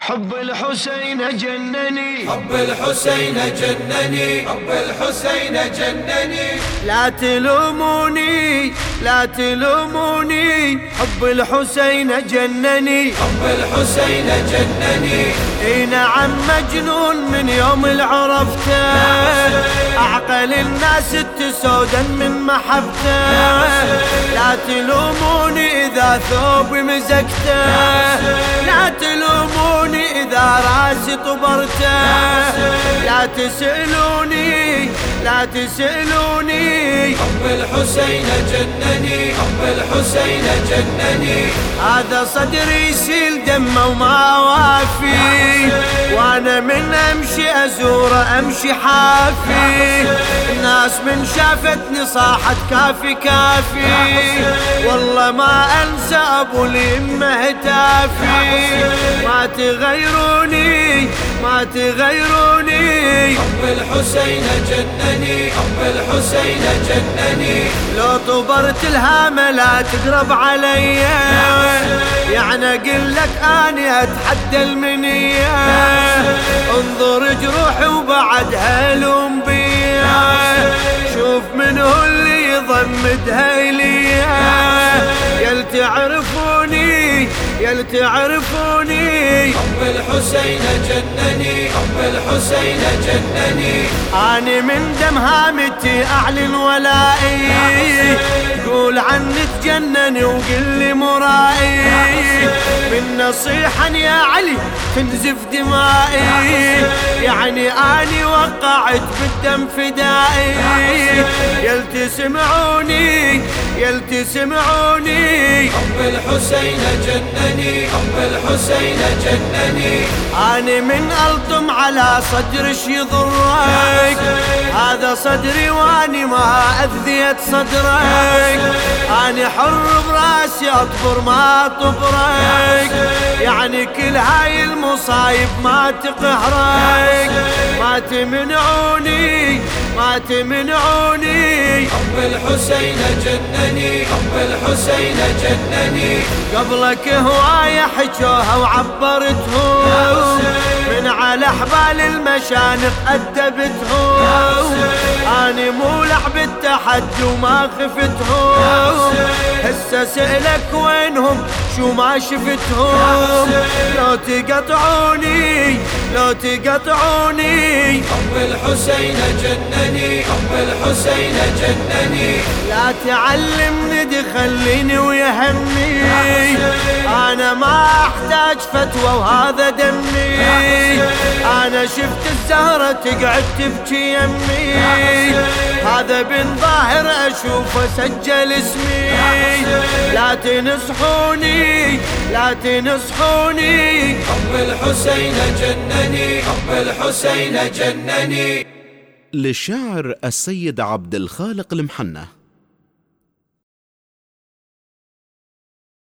حب الحسين جنني حب الحسين جنني حب الحسين جنني لا تلوموني لا تلوموني حب الحسين جنني حب الحسين جنني اي نعم مجنون من يوم اللي عرفته اعقل الناس التسودا من محبته لا تلوموني اذا ثوبي مزقته لا تلوموني اذا راسي طبرته لا تسالوني لا تسالوني حب الحسين جنني حب الحسين جنني هذا صدري يسيل دمه وما وافي وانا من امشي ازوره امشي حافي الناس من شافتني صاحت كافي كافي والله ما انسى ابو اليمه هتافي ما تغيروني ما تغيروني حب الحسين جنني حب الحسين جنني لو طبرت الهامة لا تقرب علي يعني اقول لك اني اتحدى المنية انظر جروحي وبعد هلوم بيا شوف من هو اللي يضمدها اليا يل تعرفوني يل تعرفوني حب الحسين جنني حب الحسين جنني اني من دم هامتي اعلن ولائي قول عني تجنني وقل لي مرائي من نصيحة يا علي تنزف دمائي يعني اني وقعت بالدم فدائي يل تسمعوني يل تسمعوني حب الحسين جنني حب الحسين جنني اني من الطم على صدرش يضرك هذا صدري واني ما اذيت صدرك اني حر براسي اطبر ما اطبرك يعني كل هاي المصايب ما تقهرك ما تمنعوني ما تمنعوني حب الحسين جنني حب الحسين جنني قبلك هواية حجوها وعبرتهم من على حبال المشانق أدبتهم أني مو لعب التحدي وما خفتهم هسه سألك وينهم شو ما شفتهم لو تقطعوني لو تقطعوني حب الحسين جنني حب الحسين جنني لا تعلمني دي خليني ويهمني انا ما احتاج فتوى وهذا دمي انا شفت الزهرة تقعد تبكي يمي هذا بن ظاهر اشوفه سجل اسمي لا تنصحوني لا تنصحوني حب الحسين جنني حب الحسين جنني للشاعر السيد عبد الخالق المحنه